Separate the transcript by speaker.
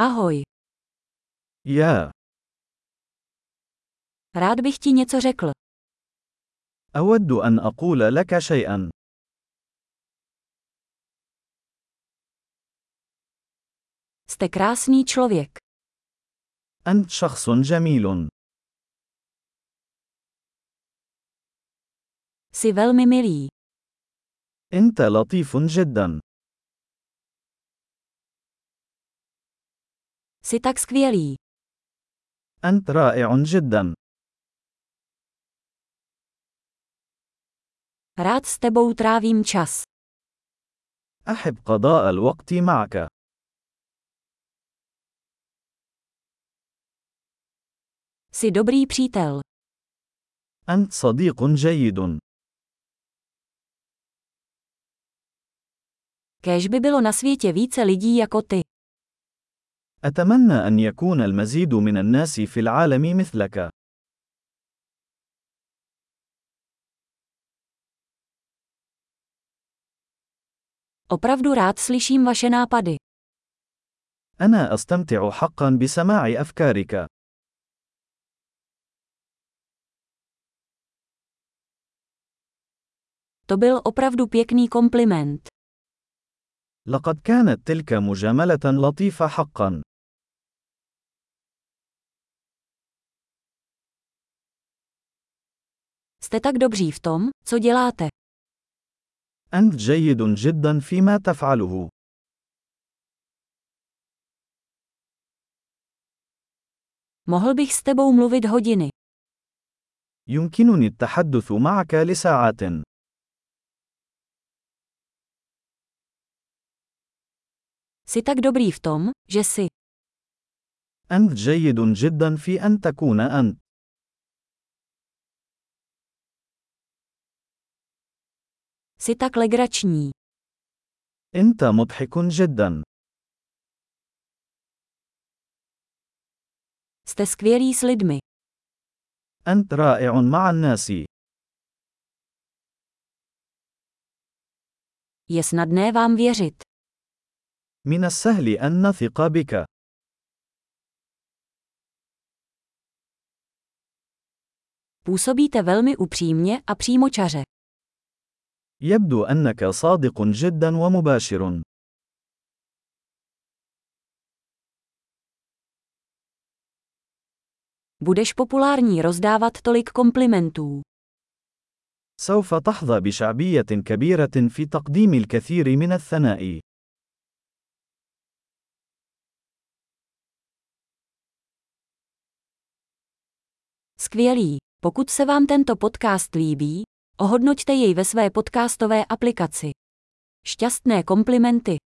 Speaker 1: Ahoj.
Speaker 2: يا
Speaker 1: Rád bych ti něco řekl.
Speaker 2: أود أن أقول لك شيئا
Speaker 1: Jste krásný člověk.
Speaker 2: أنت شخص جميل
Speaker 1: Jsi velmi milý.
Speaker 2: أنت لطيف جدا
Speaker 1: Jsi tak skvělý.
Speaker 2: أنت رائع جدا
Speaker 1: Rád s tebou trávím čas.
Speaker 2: أحب قضاء الوقت معك
Speaker 1: Jsi dobrý přítel.
Speaker 2: أنت صديق جيد
Speaker 1: Kéž by bylo na světě více lidí jako ty.
Speaker 2: أتمنى أن يكون المزيد من الناس في العالم مثلك
Speaker 1: Opravdu rád slyším vaše nápady.
Speaker 2: أنا أستمتع حقا بسماع أفكارك
Speaker 1: To byl opravdu pěkný kompliment.
Speaker 2: لقد كانت تلك مجاملة لطيفة حقا
Speaker 1: Jste tak dobří v tom, co děláte.
Speaker 2: أنت جيد جدا فيما تفعله
Speaker 1: Mohl bych s tebou mluvit hodiny.
Speaker 2: يمكنني التحدث معك لساعات
Speaker 1: Jsi tak dobrý v tom, že jsi.
Speaker 2: أنت جيد جدا في أن تكون أنت.
Speaker 1: Jsi tak legrační.
Speaker 2: أنت مضحك جدا.
Speaker 1: Jste skvělý s lidmi.
Speaker 2: أنت رائع مع الناس.
Speaker 1: Je snadné vám věřit.
Speaker 2: من السهل أن نثق بك.
Speaker 1: Působíte velmi upřímně a přímočaře.
Speaker 2: يبدو أنك صادق جدا ومباشر.
Speaker 1: Budeš populární rozdávat tolik komplimentů.
Speaker 2: سوف تحظى بشعبية كبيرة في تقديم الكثير من الثناء.
Speaker 1: Skvělý. Pokud se vám tento podcast líbí, ohodnoťte jej ve své podcastové aplikaci. Šťastné komplimenty.